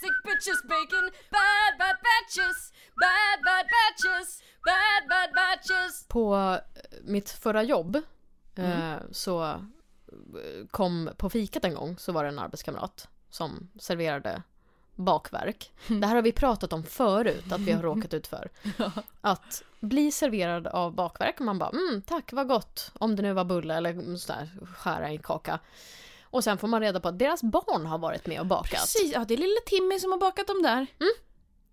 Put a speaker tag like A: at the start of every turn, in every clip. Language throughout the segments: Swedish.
A: sandwiches, bacon, bad bad batches, bad bad batches, bad bad batches.
B: På eh, mitt förra jobb eh, så eh, kom på fikat en gång så var det en arbetskamrat som serverade bakverk. Det här har vi pratat om förut att vi har råkat ut för. Att bli serverad av bakverk och man bara mm, tack vad gott om det nu var bulle eller mm, sån där skära i en kaka. Och sen får man reda på att deras barn har varit med och bakat.
C: Precis, ja det är lille Timmy som har bakat dem där.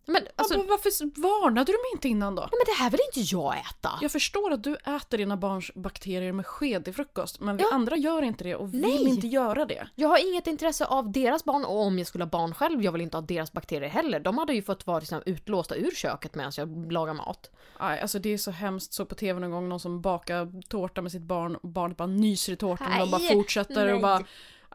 B: Men, alltså,
C: Alltså,
B: nej,
C: varför s- varnade du mig inte innan då?
B: men det här vill inte jag äta.
C: Jag förstår att du äter dina barns bakterier med sked i frukost, men vi andra gör inte det och vill
B: Nej.
C: inte göra det.
B: Jag har inget intresse av deras barn och om jag skulle ha barn själv, jag vill inte ha deras bakterier heller. De hade ju fått vara liksom, utlåsta ur köket medan jag lagar mat.
C: Aj, alltså det är så hemskt, så på tv någon gång någon som bakar tårta med sitt barn och barnet bara nyser i tårtan och de bara
B: Aj,
C: fortsätter och
B: nej. Mm.
C: bara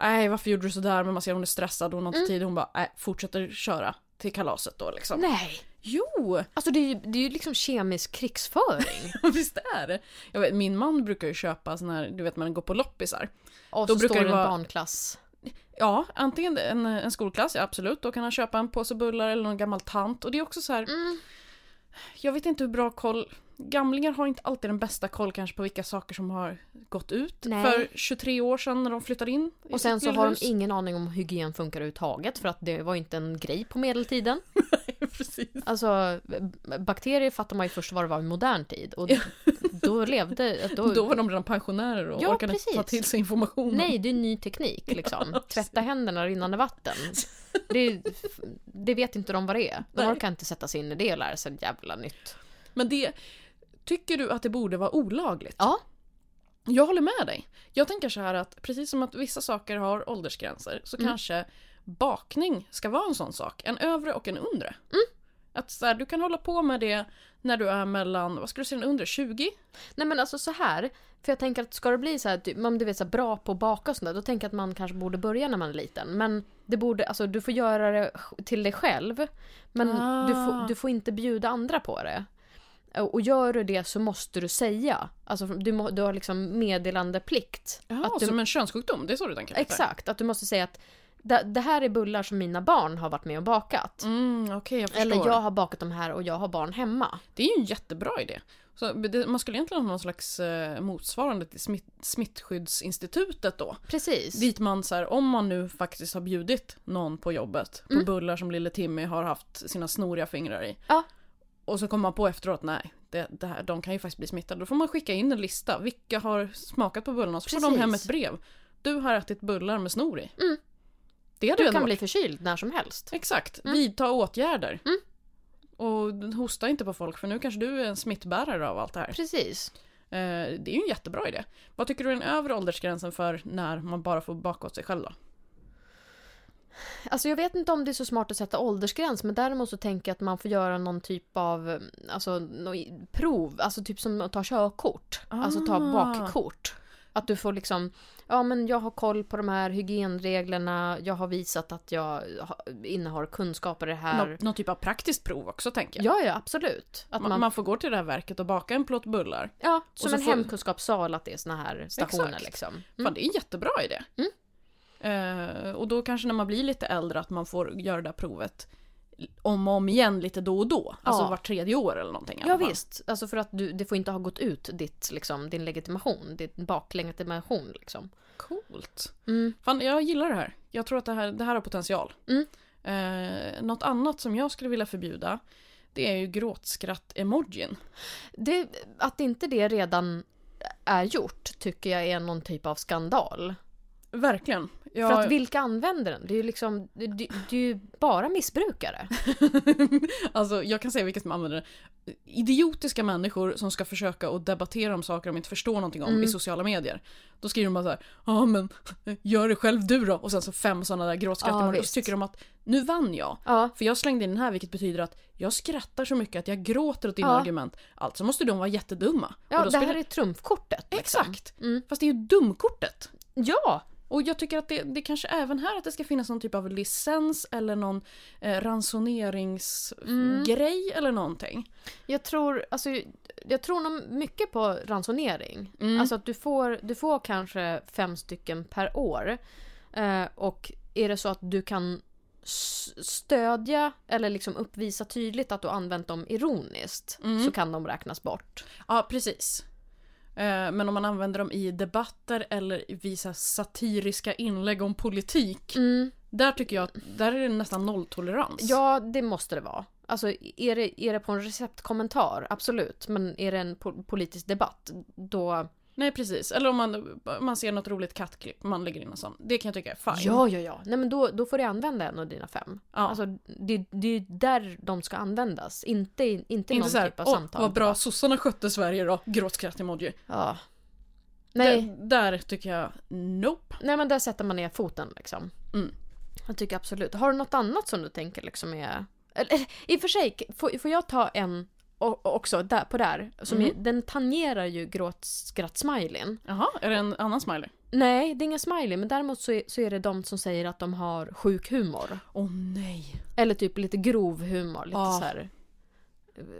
C: Nej varför gjorde du sådär? Men man ser hon är stressad och hon har inte tid och hon bara nej, fortsätter köra till kalaset då liksom.
B: Nej!
C: Jo!
B: Alltså det är ju, det är ju liksom kemisk krigsföring.
C: Visst är det? Jag vet, min man brukar ju köpa sån här, du vet man går på loppisar.
B: Och
C: Då
B: så
C: brukar
B: står
C: det
B: det en
C: vara-
B: barnklass.
C: Ja, antingen en, en skolklass, ja, absolut. Då kan han köpa en påse bullar eller någon gammal tant. Och det är också så här...
B: Mm.
C: Jag vet inte hur bra koll... Gamlingar har inte alltid den bästa koll kanske på vilka saker som har gått ut
B: Nej.
C: för 23 år sedan när de flyttade in. i
B: Och sen
C: sitt
B: så har
C: hus.
B: de ingen aning om hur hygien funkar överhuvudtaget för att det var ju inte en grej på medeltiden.
C: Precis.
B: Alltså b- bakterier fattar man ju först vad det var i modern tid och då levde... Då,
C: Då var de redan pensionärer och
B: Ja,
C: orkade inte ta
B: precis.
C: till sig informationen.
B: Nej, det är ny teknik liksom. Tvätta händerna i rinnande vatten. Det, det vet inte de vad det är. De
C: Nej.
B: orkar inte sätta sig in i det och lära sig ett jävla nytt.
C: Men det... Tycker du att det borde vara olagligt?
B: Ja.
C: Jag håller med dig. Jag tänker så här att precis som att vissa saker har åldersgränser så
B: Mm.
C: kanske bakning ska vara en sån sak. En övre och en undre.
B: Mm.
C: Att så här, du kan hålla på med det när du är mellan, vad skulle du säga, en undre? 20?
B: Nej men alltså så här. För jag tänker att ska det bli så här, typ, om du vet så här, bra på att baka och sånt där, då tänker jag att man kanske borde börja när man är liten. Men det borde, alltså du får göra det sj- till dig själv. Men du,
C: Ah.
B: får, du får inte bjuda andra på det. Och och gör du det så måste du säga. Alltså du, må, du har liksom meddelandeplikt.
C: Jaha,
B: att du
C: som en könssjukdom, det är så du tänker? ungefär.
B: Exakt, att du måste säga att det, det här är bullar som mina barn har varit med och bakat.
C: Mm, Okej, jag förstår.
B: Eller jag har bakat de här och jag har barn hemma.
C: Det är ju en jättebra idé. Så det, man skulle egentligen ha någon slags eh, motsvarande till smitt, smittskyddsinstitutet då.
B: Precis.
C: Dit man så här, om man nu faktiskt har bjudit någon på jobbet på bullar som lille Timmy har haft sina snoriga fingrar i.
B: Mm. Ja.
C: Och så kommer man på efteråt, nej, det, det här, de kan ju faktiskt bli smittade. Då får man skicka in en lista, vilka har smakat på bullarna? Så får de
B: Precis.
C: hem ett brev. Du har ätit bullar med snor i.
B: Mm.
C: Det hade
B: Du
C: ju
B: kan
C: ändå
B: bli
C: varit.
B: förkyld när som helst.
C: Exakt,
B: Mm.
C: vidta åtgärder. Och hosta inte på folk för nu kanske du är en smittbärare av allt det här.
B: Precis.
C: Eh, det är ju en jättebra idé. Vad tycker du är den övre åldersgränsen för när man bara får baka åt sig själv då?
B: Alltså jag vet inte om det är så smart att sätta åldersgräns men däremot så tänker jag att man får göra någon typ av alltså, nå- i- prov, alltså typ som att ta körkort. Alltså ta
C: Ah.
B: bakkort. Att du får liksom, ja men jag har koll på de här hygienreglerna, jag har visat att jag ha- innehar kunskaper i det här.
C: Nå- någon typ av praktiskt prov också tänker jag.
B: Ja, ja absolut. Att
C: man, man, får gå till det här verket och baka en plåt bullar.
B: ja, som
C: så
B: en
C: får-
B: hemkunskapssal att det är såna här stationer
C: Exakt.
B: liksom.
C: Fan, det är en jättebra idé.
B: Mm.
C: Eh, och då kanske när man blir lite äldre att man får göra det här provet om och om igen lite då och då. Alltså
B: Ja.
C: vart tredje år eller någonting. i alla
B: Ja
C: fall.
B: visst, alltså för att du, det får inte ha gått ut ditt, liksom, din legitimation, din baklegitimation liksom.
C: Coolt.
B: Mm.
C: Fan, jag gillar det här. Jag tror att det här, det här har potential.
B: Mm.
C: Eh, något annat som jag skulle vilja förbjuda det är ju gråtskratt-emojin.
B: Det, att inte det redan är gjort tycker jag är någon typ av skandal.
C: Verkligen. Jag...
B: För att vilka använder den? Det är ju liksom, det, det, det är ju bara missbrukare.
C: alltså, jag kan säga vilket som använder det. Idiotiska människor som ska försöka att debattera om saker de inte förstår någonting om
B: Mm.
C: i sociala medier. Då skriver de bara så här, ja men gör det själv du då. Och sen så fem sådana där
B: Ja,
C: gråtskratt och
B: visst.
C: så tycker de att nu vann jag.
B: Ja,
C: För jag slängde in den här vilket betyder att jag skrattar så mycket att jag gråter åt dina
B: Ja.
C: argument. Alltså måste de vara jättedumma.
B: ja
C: Och
B: det
C: då
B: här
C: spelar-
B: är trumfkortet. liksom.
C: Exakt!
B: Mm.
C: Fast det är ju dumkortet.
B: Ja!
C: Och jag tycker att det, det kanske även här att det ska finnas någon typ av licens eller någon eh, ransoneringsgrej
B: Mm.
C: eller någonting.
B: Jag tror, alltså, jag tror nog mycket på ransonering.
C: Mm.
B: Alltså att du får, du får kanske fem stycken per år. Eh, och är det så att du kan s- stödja eller liksom uppvisa tydligt att du har använt dem ironiskt
C: Mm.
B: så kan de räknas bort.
C: Ja, precis. Eh, Men om man använder dem i debatter eller i vissa satiriska inlägg om politik. Där tycker jag att där är det nästan nolltolerans.
B: Ja, det måste det vara. Alltså är det, är det på en receptkommentar, absolut. Men är det en po- politisk debatt, då...
C: Nej precis, eller om man, man ser något roligt kattklipp, man lägger in en sån. Det kan jag tycka är fine.
B: Ja, ja, ja. Nej men då, då får du använda en av dina fem.
C: Ja.
B: Alltså det, det är där de ska användas. Inte, inte, någon
C: inte såhär,
B: typ av
C: åh
B: samtal.
C: vad bra
B: Bara,
C: sossarna skötte Sverige då, gråtskratt-emoji.
B: Ja. Nej,
C: Där, där tycker jag, nope.
B: nej men där sätter man ner foten liksom.
C: Mm.
B: Jag tycker absolut. Har du något annat som du tänker liksom är... Eller, I och för sig, får, får jag ta en o- också där, på där? Som
C: Mm.
B: är, den tangerar ju gråtskratt-smileyn.
C: Jaha, är det en annan smiley?
B: Nej, det är ingen smiley, men däremot så är, så är det de som säger att de har sjuk humor.
C: Åh nej.
B: Eller typ lite grov humor, lite
C: Ja.
B: så här.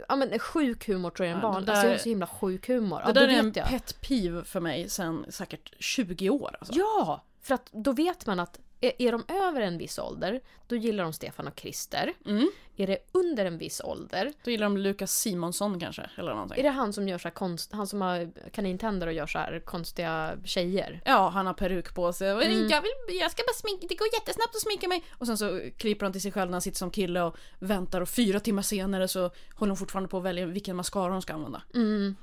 B: Ja men sjuk humor tror jag är en
C: Ah. Ja, det
B: vanlig,
C: där-
B: alltså jag är så himla sjuk humor.
C: Det
B: Ja,
C: där
B: då
C: är en
B: vet jag.
C: pet peeve för mig sen säkert 20 år alltså.
B: Ja! För att då vet man att är, är de över en viss ålder, då gillar de Stefan och Krister.
C: Mm.
B: Är det under en viss ålder,
C: Då gillar de Lukas Simonsson kanske, eller
B: är
C: någonting.
B: det han som gör så här konst, han som har kanintänder och gör så här konstiga tjejer.
C: Ja, han har peruk på sig. och
B: Mm.
C: Jag, vill, jag ska bara sminka, det går jättesnabbt att sminka mig. Och sen så klipper han till sig själv när han sitter som kille och väntar och fyra timmar senare så håller hon fortfarande på att välja vilken mascara hon ska använda.
B: Mm.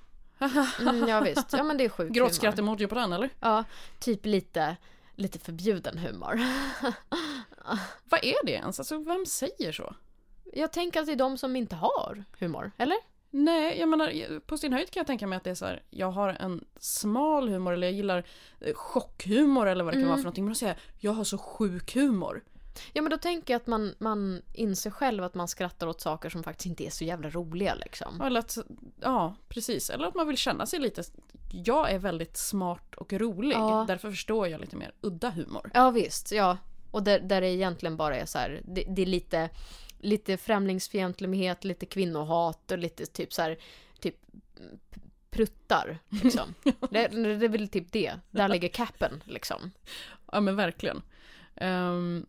B: Mm, ja visst, ja men det är sjuk humor.
C: Gråtskratt-emoji på den eller?
B: Ja, typ lite, lite förbjuden humor.
C: Vad är det ens? Alltså vem säger så?
B: Jag tänker att det är de som inte har humor, eller?
C: Nej, jag menar på sin höjd kan jag tänka mig att det är så här. Jag har en smal humor eller jag gillar eh, chockhumor eller vad det kan
B: Mm.
C: vara för någonting. Men att säga jag har så sjuk humor.
B: Ja men då tänker jag att man, man inser själv att man skrattar åt saker som faktiskt inte är så jävla roliga liksom.
C: Eller att, ja precis. Eller att man vill känna sig lite, jag är väldigt smart och rolig.
B: Ja.
C: Därför förstår jag lite mer udda humor.
B: Ja visst, ja. Och där, där det egentligen bara är så här, det, det är lite, lite främlingsfientlighet, lite kvinnohat och lite typ så här, typ p- pruttar liksom. det, det är väl typ det, där ligger capen liksom.
C: Ja men verkligen. Ehm,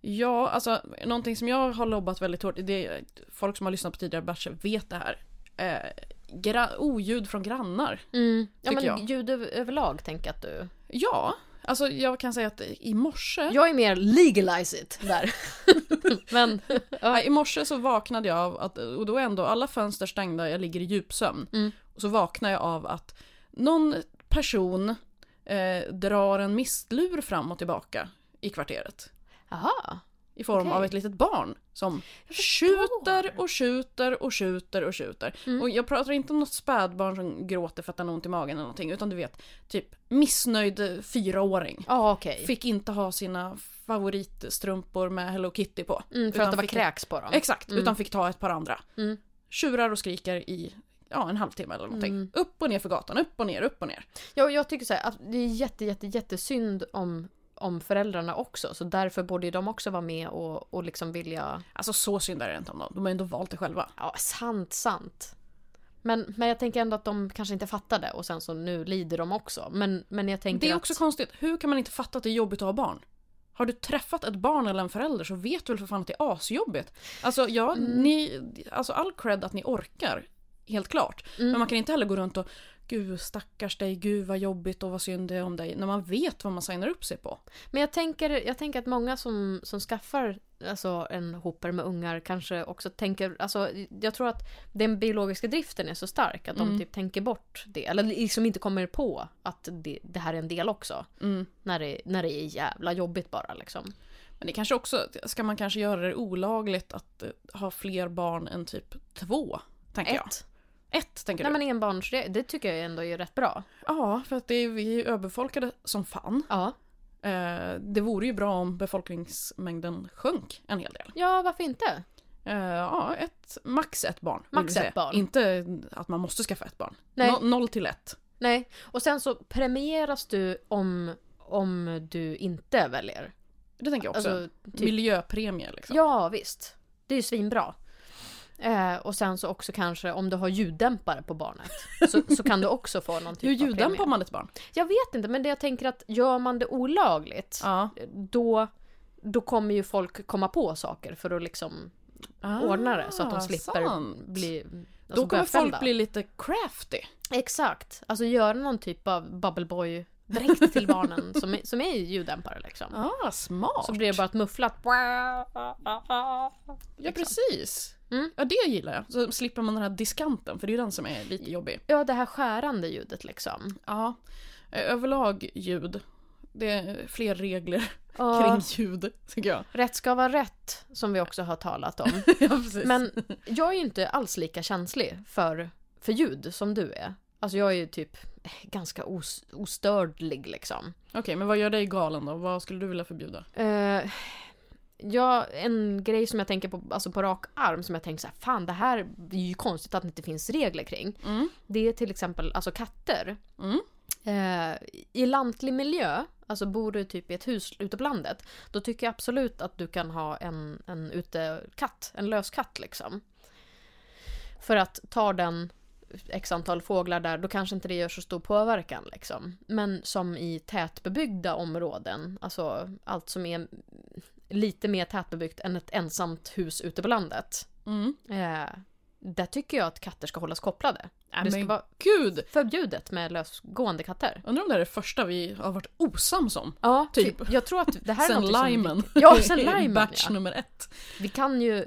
C: ja, alltså någonting som jag har lobbat väldigt hårt, det är, folk som har lyssnat på tidigare batcher vet det här. Eh, gra- oljud från grannar.
B: Mm. Ja
C: Tycker
B: men
C: jag.
B: ljud över, överlag tänker jag att du...
C: Ja, alltså jag kan säga att i morse,
B: Jag är mer legalize it där. men,
C: ja. i morse så vaknade jag av att, och då är ändå alla fönster stängda, jag ligger i djupsömn.
B: Mm.
C: Och så vaknar jag av att någon person eh, drar en mistlur fram och tillbaka i kvarteret.
B: jaha.
C: I form
B: Okej.
C: av ett litet barn som skjuter och skjuter och skjuter och skjuter.
B: Mm.
C: Och jag pratar inte om något spädbarn som gråter för att han har ont i magen eller någonting. Utan du vet, typ missnöjd eh, fyraåring.
B: Ja okej.
C: Fick inte ha sina favoritstrumpor med Hello Kitty på.
B: Mm, för
C: Utan
B: att det var
C: fick-
B: kräks på dem.
C: Exakt, utan fick ta ett par andra.
B: Mm.
C: Tjurar och skriker i ja, en halvtimme eller någonting.
B: Mm.
C: Upp och ner för gatan, upp och ner, upp och ner.
B: Jag, jag tycker så här, att det är jätte, jätte, jättesynd om, om föräldrarna också. Så därför borde ju de också vara med och, och liksom vilja...
C: Alltså så synd är det inte om dem. De har ju ändå valt det själva.
B: Ja, sant, sant. Men, men jag tänker ändå att de kanske inte fattade och sen så nu lider de också. Men, men jag tänker
C: Det är
B: att...
C: också konstigt, hur kan man inte fatta att det är jobbigt att ha barn? Har du träffat ett barn eller en förälder så vet du väl för fan att det är asjobbigt? Alltså, ja,
B: Mm.
C: ni, alltså all cred att ni orkar, helt klart.
B: Mm.
C: Men man kan inte heller gå runt och Gud stackars dig, gud vad jobbigt och vad synd det är om dig. När man vet vad man signar upp sig på.
B: Men jag tänker, jag tänker att många som, som skaffar alltså, en hoper med ungar kanske också tänker, alltså, jag tror att den biologiska driften är så stark att
C: Mm.
B: de typ tänker bort det. Eller liksom inte kommer på att det, det här är en del också.
C: Mm.
B: När, det, när det är jävla jobbigt bara liksom.
C: Men det kanske också, ska man kanske göra det olagligt att eh, ha fler barn än typ två? Tänker jag.
B: Ett.
C: Ett tänker
B: Nej
C: du?
B: men enbarns, det, det tycker jag ändå är rätt bra.
C: Ja, för att det är, vi är ju överbefolkade som fan.
B: Ja.
C: Eh, det vore ju bra om befolkningsmängden sjönk en hel del.
B: Ja, varför inte?
C: Eh, ja, ett, max ett barn. vill
B: Max
C: vi säga.
B: ett barn.
C: Inte att man måste skaffa ett barn.
B: Nej.
C: No, noll till ett.
B: Nej, och sen så premieras du om, om du inte väljer.
C: Det tänker jag också.
B: Alltså,
C: Miljöpremie liksom.
B: Ja, visst. Det är ju svinbra. Eh, och sen så också kanske om du har ljuddämpare på barnet så, så kan du också få någon typ
C: Hur
B: av
C: ljuddämpar
B: premie.
C: man ett barn?
B: Jag vet inte men det jag tänker att gör man det olagligt
C: Ja.
B: då då kommer ju folk komma på saker för att liksom ordna det så att de
C: Ah,
B: slipper
C: sant.
B: bli alltså,
C: Då kommer
B: bötfällda.
C: folk bli lite crafty.
B: Exakt, alltså göra någon typ av bubbleboy direkt till barnen som, är- som är ljuddämpare liksom.
C: Ah, smart.
B: Så blir det bara ett mufflat
C: Ja, precis.
B: Liksom. Mm.
C: Ja, det gillar jag. Så slipper man den här diskanten, för det är ju den som är lite jobbig.
B: Ja, det här skärande ljudet liksom.
C: Ja. Eh, Överlag ljud. Det är fler regler
B: Ja,
C: kring ljud, tycker jag.
B: rätt ska vara rätt, som vi också har talat om.
C: ja, precis.
B: Men jag är ju inte alls lika känslig för, för ljud som du är. Alltså jag är ju typ eh, ganska os, ostördlig liksom.
C: Okej, men vad gör dig galen då? Vad skulle du vilja förbjuda?
B: Eh, ja, en grej som jag tänker på, alltså på rak arm som jag tänker så här, fan det här är ju konstigt att det inte finns regler kring.
C: Mm.
B: Det är till exempel alltså katter.
C: Mm.
B: Eh, I lantlig miljö, alltså bor du typ i ett hus ute på landet, då tycker jag absolut att du kan ha en, en utekatt, en löskatt liksom. För att tar den x antal fåglar där, då kanske inte det gör så stor påverkan liksom. Men som i tätbebyggda områden, alltså allt som är lite mer tätbebyggt än ett ensamt hus ute på landet.
C: Mm.
B: Eh, där tycker jag att katter ska hållas kopplade.
C: Nej,
B: det ska
C: men
B: vara
C: gud!
B: förbjudet med lösgående katter.
C: Undrar om det här är det första vi har varit osams om.
B: Ja,
C: typ.
B: Jag tror att det här är
C: sen
B: någonting som vi-
C: limen.
B: Ja, sen limen,
C: Batch
B: ja.
C: nummer ett.
B: Vi kan ju,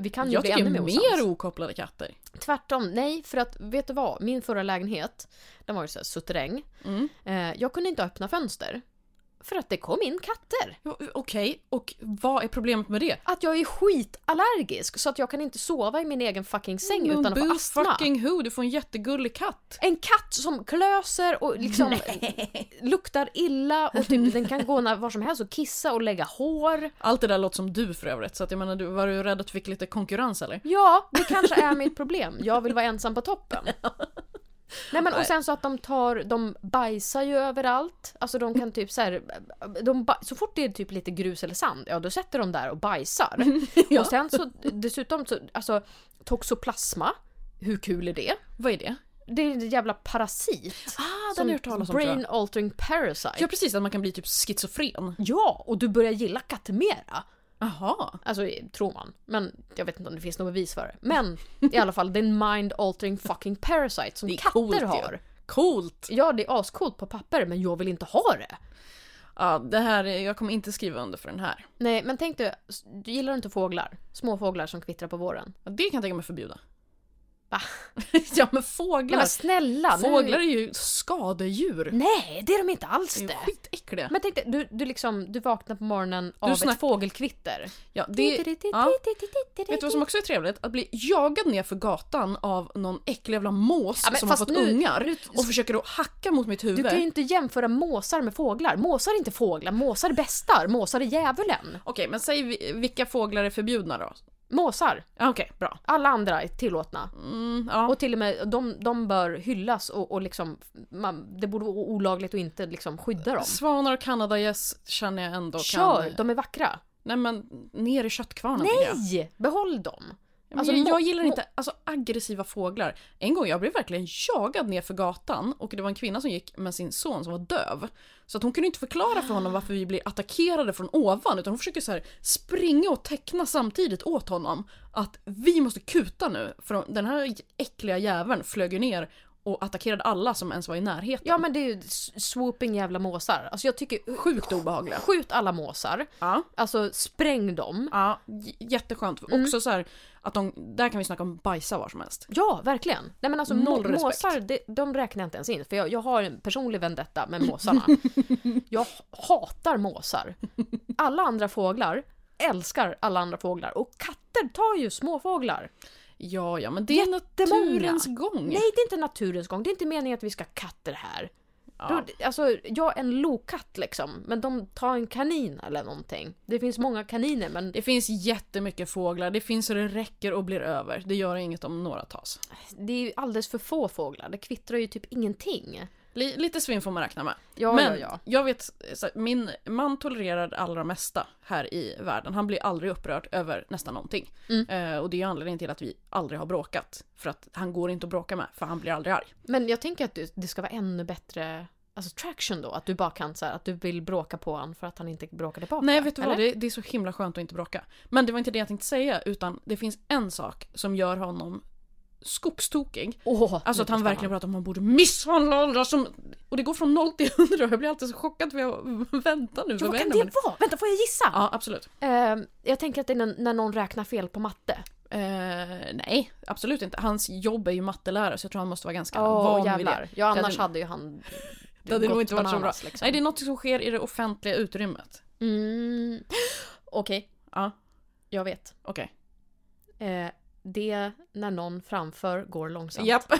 B: vi kan ju
C: Jag
B: bli
C: tycker
B: ännu
C: mer
B: mer osams.
C: okopplade katter.
B: Tvärtom, nej för att vet du vad? Min förra lägenhet, den var ju såhär suteräng.
C: Mm.
B: Eh, jag kunde inte öppna fönster. För att det kom in katter.
C: Ja, Okej, och vad är problemet med det?
B: Att jag är skitallergisk så att jag kan inte sova i min egen fucking säng
C: Men
B: utan att
C: boo
B: få astma.
C: fucking who, du får en jättegullig katt.
B: En katt som klöser och liksom luktar illa och typ, den kan gå när, var som helst och kissa och lägga hår.
C: Allt det där låter som du för övrigt, så att jag menar, du, var du rädd att du fick lite konkurrens eller?
B: Ja, det kanske är mitt problem. Jag vill vara ensam på toppen. Nej men och sen så att de tar, de bajsar ju överallt. Alltså de kan typ så här, de ba- så fort det är typ lite grus eller sand, ja då sätter de där och bajsar.
C: Ja.
B: Och sen så dessutom så, alltså toxoplasma, hur kul är det?
C: Vad är det?
B: Det är en jävla parasit.
C: Ah,
B: Som Brain
C: Brain...
B: altering parasite.
C: Ja precis, att man kan bli typ schizofren.
B: Ja, och du börjar gilla katter mera.
C: Aha.
B: Alltså, tror man. Men jag vet inte om det finns något bevis för det. Men i alla fall, det är en mind altering fucking parasite som
C: Det är
B: katter
C: coolt ju.
B: har.
C: Coolt!
B: Ja, det är ascoolt på papper, men jag vill inte ha det.
C: Ja, det här, är- jag kommer inte skriva under för den här.
B: Nej, men tänk dig, s- du gillar inte fåglar? Småfåglar som kvittrar på våren.
C: Ja, Det kan jag tänka mig förbjuda.
B: Va?
C: ja men
B: Nej,
C: fåglar!
B: men snälla! nu-
C: fåglar är ju skadedjur.
B: Nej, det är de inte alls
C: Det är ju
B: det!
C: skitäckliga.
B: Men tänk dig, du, du, liksom, du vaknar på morgonen av
C: snack-
B: ett fågelkvitter.
C: Ja, det, ja. Vet du vad som också är trevligt? Att bli jagad ner för gatan av någon äcklig jävla mås
B: Ja, men
C: som har
B: fast
C: fått
B: nu-
C: ungar
B: nu-
C: och försöker att hacka mot mitt
B: Du
C: huvud.
B: kan ju inte jämföra måsar med fåglar. Måsar är inte fåglar, måsar är bästar, måsar är djävulen.
C: Okej, men säg vi- vilka fåglar är förbjudna då?
B: Måsar,
C: Ja, Okej, bra.
B: alla andra är tillåtna.
C: Mm, ja.
B: Och till och med de, de bör hyllas och, och liksom, man, det borde vara olagligt och inte liksom skydda dem.
C: Svanar och kanadagäss känner jag ändå
B: Kör,
C: kan...
B: de är vackra.
C: Nej men, ner i köttkvarnen tycker jag.
B: Nej! Behåll dem.
C: Men
B: Alltså,
C: jag,
B: må-
C: jag gillar
B: må-
C: inte alltså, aggressiva fåglar. En gång jag blev verkligen jagad ner för gatan och det var en kvinna som gick med sin son som var döv. Så att hon kunde inte förklara för honom varför vi blir attackerade från ovan utan hon försökte så här springa och teckna samtidigt åt honom att vi måste kuta nu för den här äckliga jäveln flög ju ner och attackerade alla som ens var i närheten.
B: Ja men det är ju s- swooping jävla måsar. Alltså jag tycker,
C: Sjukt obehagliga.
B: skjut alla måsar.
C: Ja.
B: Alltså spräng dem.
C: Ja, j- jätteskönt.
B: Mm.
C: Också så här att de, där kan vi snacka om bajsa var som helst.
B: Ja, verkligen. Nej men alltså
C: Noll
B: må-
C: respekt.
B: måsar, det, de räknar jag inte ens in. För jag, jag har en personlig vendetta med måsarna. jag hatar måsar. Alla andra fåglar älskar alla andra fåglar. Och katter tar ju småfåglar.
C: Ja, ja, men det är naturens gång.
B: Nej, det är inte naturens gång. Det är inte meningen att vi ska ha katter här.
C: Ja.
B: Då, alltså, jag är en lokatt liksom, men de tar en kanin eller någonting. Det finns många kaniner, men
C: Det finns jättemycket fåglar, det finns så det räcker och blir över. Det gör inget om några tas.
B: det är ju alldeles för få fåglar. Det kvittrar ju typ ingenting.
C: Li- lite svinn får man räkna med.
B: Ja,
C: Men
B: ja, ja.
C: jag vet, så här, min man tolererar det allra mesta här i världen. Han blir aldrig upprörd över nästan någonting.
B: Mm.
C: Eh, och det är anledningen till att vi aldrig har bråkat. För att han går inte att bråka med, för han blir aldrig arg.
B: Men jag tänker att det- det ska vara ännu bättre alltså traction då? Att du bara kan så här, att du vill bråka på honom för att han inte bråkar tillbaka?
C: Nej, vet du vad?
B: eller?
C: Det, det är så himla skönt att inte bråka. Men det var inte det jag tänkte säga, utan det finns en sak som gör honom skogstokig.
B: Åh,
C: Alltså
B: nu
C: att han
B: förstår
C: verkligen pratar om att man borde misshandla åldrar som... Och det går från 0 till 100 jag blir alltid så chockad för jag väntar nu.
B: Ja,
C: vad
B: vad kan
C: händer?
B: det vara? Vänta, får jag gissa?
C: Ja, absolut.
B: Eh, jag tänker att det är när, när någon räknar fel på matte.
C: Eh, nej, absolut inte. Hans jobb är ju mattelärare så jag tror han måste vara ganska
B: Åh,
C: van vid det.
B: jävlar. Ja,
C: hade-
B: annars hade ju han
C: Det hade
B: gått
C: nog inte varit så bra.
B: bananas, Liksom.
C: Nej, det är något som sker i det offentliga utrymmet.
B: Mm. Okej,
C: Ja,
B: jag vet.
C: okej.
B: Eh, det är när någon framför går långsamt.
C: Japp.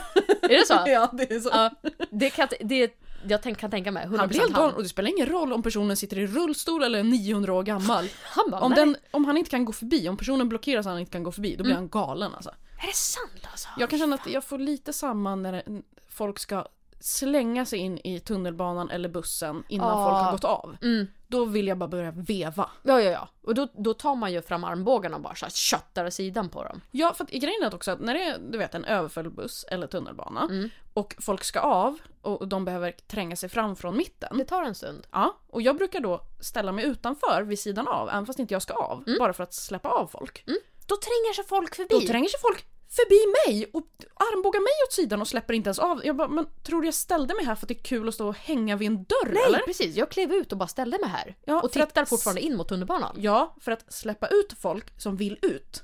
B: Är det så?
C: ja, det är så.
B: Ja, det kan, det, jag tänk, kan tänka mig. 100%
C: Han blir helt galen
B: han.
C: och det spelar ingen roll om personen sitter i rullstol eller är 900 år gammal.
B: Han bara,
C: Om,
B: nej.
C: den, om han inte kan gå förbi, om personen blockeras och han inte kan gå förbi, då blir han galen alltså.
B: Är det sant alltså?
C: Jag kan känna att jag får lite samma när det- folk ska slänga sig in i tunnelbanan eller bussen innan
B: Ja.
C: folk har gått av.
B: Mm.
C: Då vill jag bara börja veva.
B: Ja, ja, ja. Och då, då tar man ju fram armbågarna och bara så här, köttar sidan på dem.
C: Ja, för att grejen är också att när det är du vet, en överfull buss eller tunnelbana
B: Mm.
C: och folk ska av och de behöver tränga sig fram från mitten.
B: Det tar en stund.
C: Ja, och jag brukar då ställa mig utanför vid sidan av, även fast inte jag ska av, bara för att släppa av folk.
B: Då tränger sig folk förbi.
C: Då tränger sig folk förbi mig och armbågar mig åt sidan och släpper inte ens av. Jag bara, men tror du jag ställde mig här för att det är kul att stå och hänga vid en dörr
B: Nej
C: eller?
B: precis, jag klev ut och bara ställde mig här.
C: Ja,
B: och
C: för att
B: tittar
C: s-
B: fortfarande in mot tunnelbanan.
C: Ja, för att släppa ut folk som vill ut.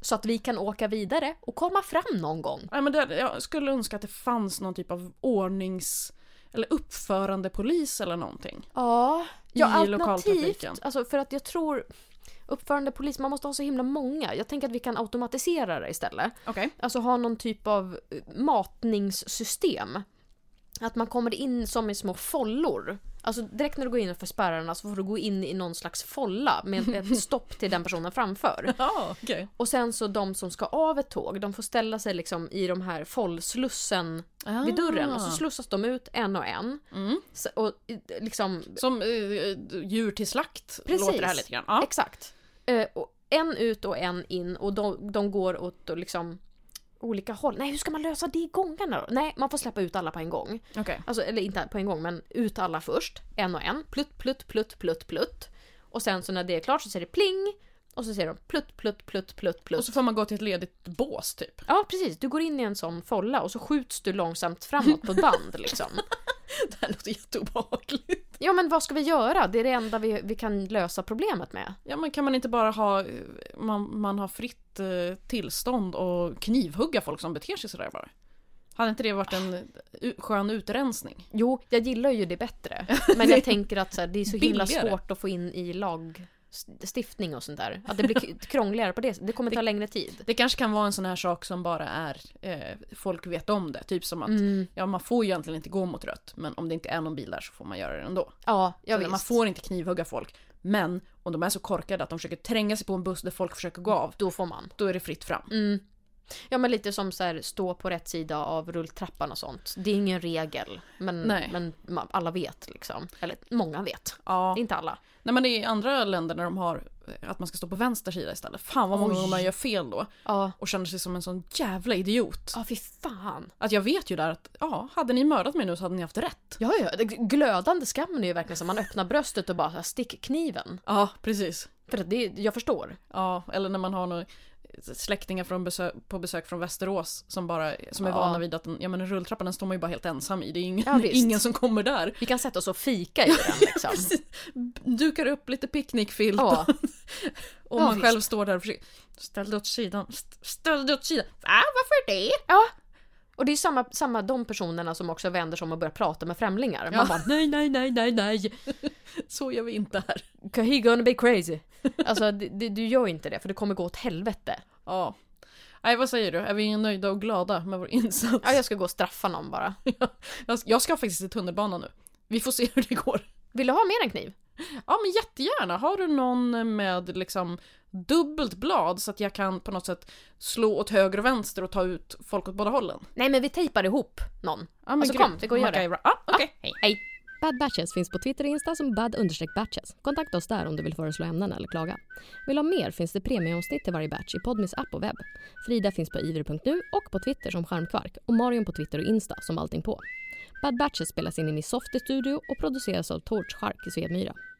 B: Så att vi kan åka vidare och komma fram någon gång.
C: Nej, men det, jag skulle önska att det fanns någon typ av ordnings... Eller uppförandepolis eller någonting.
B: Ja, ja
C: I
B: alternativt.
C: lokaltrafiken.
B: Alltså för att jag tror uppförande polis, man måste ha så himla många. Jag tänker att vi kan automatisera det istället.
C: Okej.
B: Alltså ha någon typ av eh, matningssystem. Att man kommer in som i små follor. Alltså direkt när du går in för spärrarna så får du gå in i någon slags folla med ett stopp till den personen framför.
C: Ja, okej.
B: Och sen så de som ska av ett tåg, de får ställa sig liksom i de här follslussen vid dörren
C: Ah.
B: och så slussas de ut en och en.
C: Mm.
B: Så- Och eh, liksom,
C: Som eh, eh, djur till slakt
B: Precis.
C: låter det här lite grann. Ja.
B: exakt. Eh, och en ut och en in och de, de går åt och liksom olika håll. Nej, hur ska man lösa det i gångarna då? Nej, man får släppa ut alla på en gång.
C: Okej.
B: Alltså, eller inte på en gång, men ut alla först. En och en. Plutt, plutt, plutt, plutt, plutt. Och sen så när det är klart så säger det pling. Och så säger de plutt, plutt, plutt, plutt, plutt.
C: Och så får man gå till ett ledigt bås typ.
B: Ja precis, du går in i en sån folla och så skjuts du långsamt framåt på ett band liksom.
C: Det här låter jätteobehagligt.
B: Ja men vad ska vi göra? Det är det enda vi, vi kan lösa problemet med.
C: Ja men kan man inte bara ha, eh, man, man har fritt eh, tillstånd och knivhugga folk som beter sig sådär bara? Hade inte det varit en u- skön utrensning?
B: Jo, jag gillar ju det bättre. Men jag tänker att så här, det är så himla
C: Billigare.
B: svårt att få in i lagstiftning och sånt där. Att det blir k- krångligare på det sättet. Det kommer ta längre tid.
C: Det kanske kan vara en sån här sak som bara är, eh, folk vet om det. Typ som att,
B: Mm.
C: ja man får ju egentligen inte gå mot rött, men om det inte är någon bil där så får man göra det ändå.
B: Ja, jag
C: Man
B: visst.
C: får inte knivhugga folk, men om de är så korkade att de försöker tränga sig på en buss där folk försöker gå av,
B: Då får man.
C: då är det fritt fram.
B: Mm. Ja men lite som så här, stå på rätt sida av rulltrappan och sånt. Det är ingen regel. Men,
C: Nej.
B: men ma- alla vet liksom. Eller många vet.
C: Ja.
B: Inte alla.
C: Nej men det är i andra länder när de har eh, att man ska stå på vänster sida istället. Fan vad många
B: Oj.
C: gånger man gör fel då.
B: Ja.
C: Och känner sig som en sån jävla idiot.
B: Ja fy fan.
C: Att jag vet ju där att, ja, hade ni mördat mig nu så hade ni haft rätt.
B: Ja, ja. det- Glödande skammen är ju verkligen som man öppnar bröstet och bara så här, stick kniven.
C: Ja, precis.
B: För att det, jag förstår.
C: Ja, eller när man har några släktingar från besö- på besök från Västerås som bara som är
B: Ja.
C: vana vid att en, ja, men en rulltrappa den står man ju bara helt ensam i. Det är ingen,
B: Ja, visst.
C: ingen som kommer där.
B: Vi kan sätta oss och fika i den liksom.
C: Dukar upp lite picknickfilt
B: Ja.
C: och
B: Ja,
C: man
B: visst.
C: själv står där och försöker ställ dig åt sidan, st- ställ dig åt sidan. Va, varför det?
B: ja. Ah, Och det är samma, samma de personerna som också vänder sig om och börjar prata med främlingar. Man
C: Ja.
B: bara nej, nej, nej, nej, nej.
C: Så gör vi inte här.
B: Cause he gonna be crazy. Alltså det, det, du gör inte det för det kommer gå åt helvete.
C: Ja. Nej, vad säger du? Är vi nöjda och glada med vår insats?
B: Ja, jag ska gå och straffa någon bara.
C: Jag- Jag ska faktiskt till tunnelbanan nu. Vi får se hur det går.
B: Vill du ha mer än kniv?
C: Ja, men jättegärna. Har du någon med liksom dubbelt blad så att jag kan på något sätt slå åt höger och vänster och ta ut folk åt båda hållen?
B: Nej, men vi tejpar ihop någon.
C: Ja, men
B: Alltså,
C: grymt.
B: kom, vi går och gör det.
C: MacGyver. Ja, okej. Hej.
B: Hej.
D: Bad Batches finns på Twitter och Insta som bad-batches. Kontakta oss där om du vill föreslå ämnen eller klaga. Vill du ha mer finns det premieomsnitt till varje batch i Podmis app och webb. Frida finns på ivr.nu och på Twitter som skärmkvark och Marion på Twitter och Insta som allting på.
B: Bad Batches spelas in i Softy Studio och produceras av Torch Shark i Svedmyra.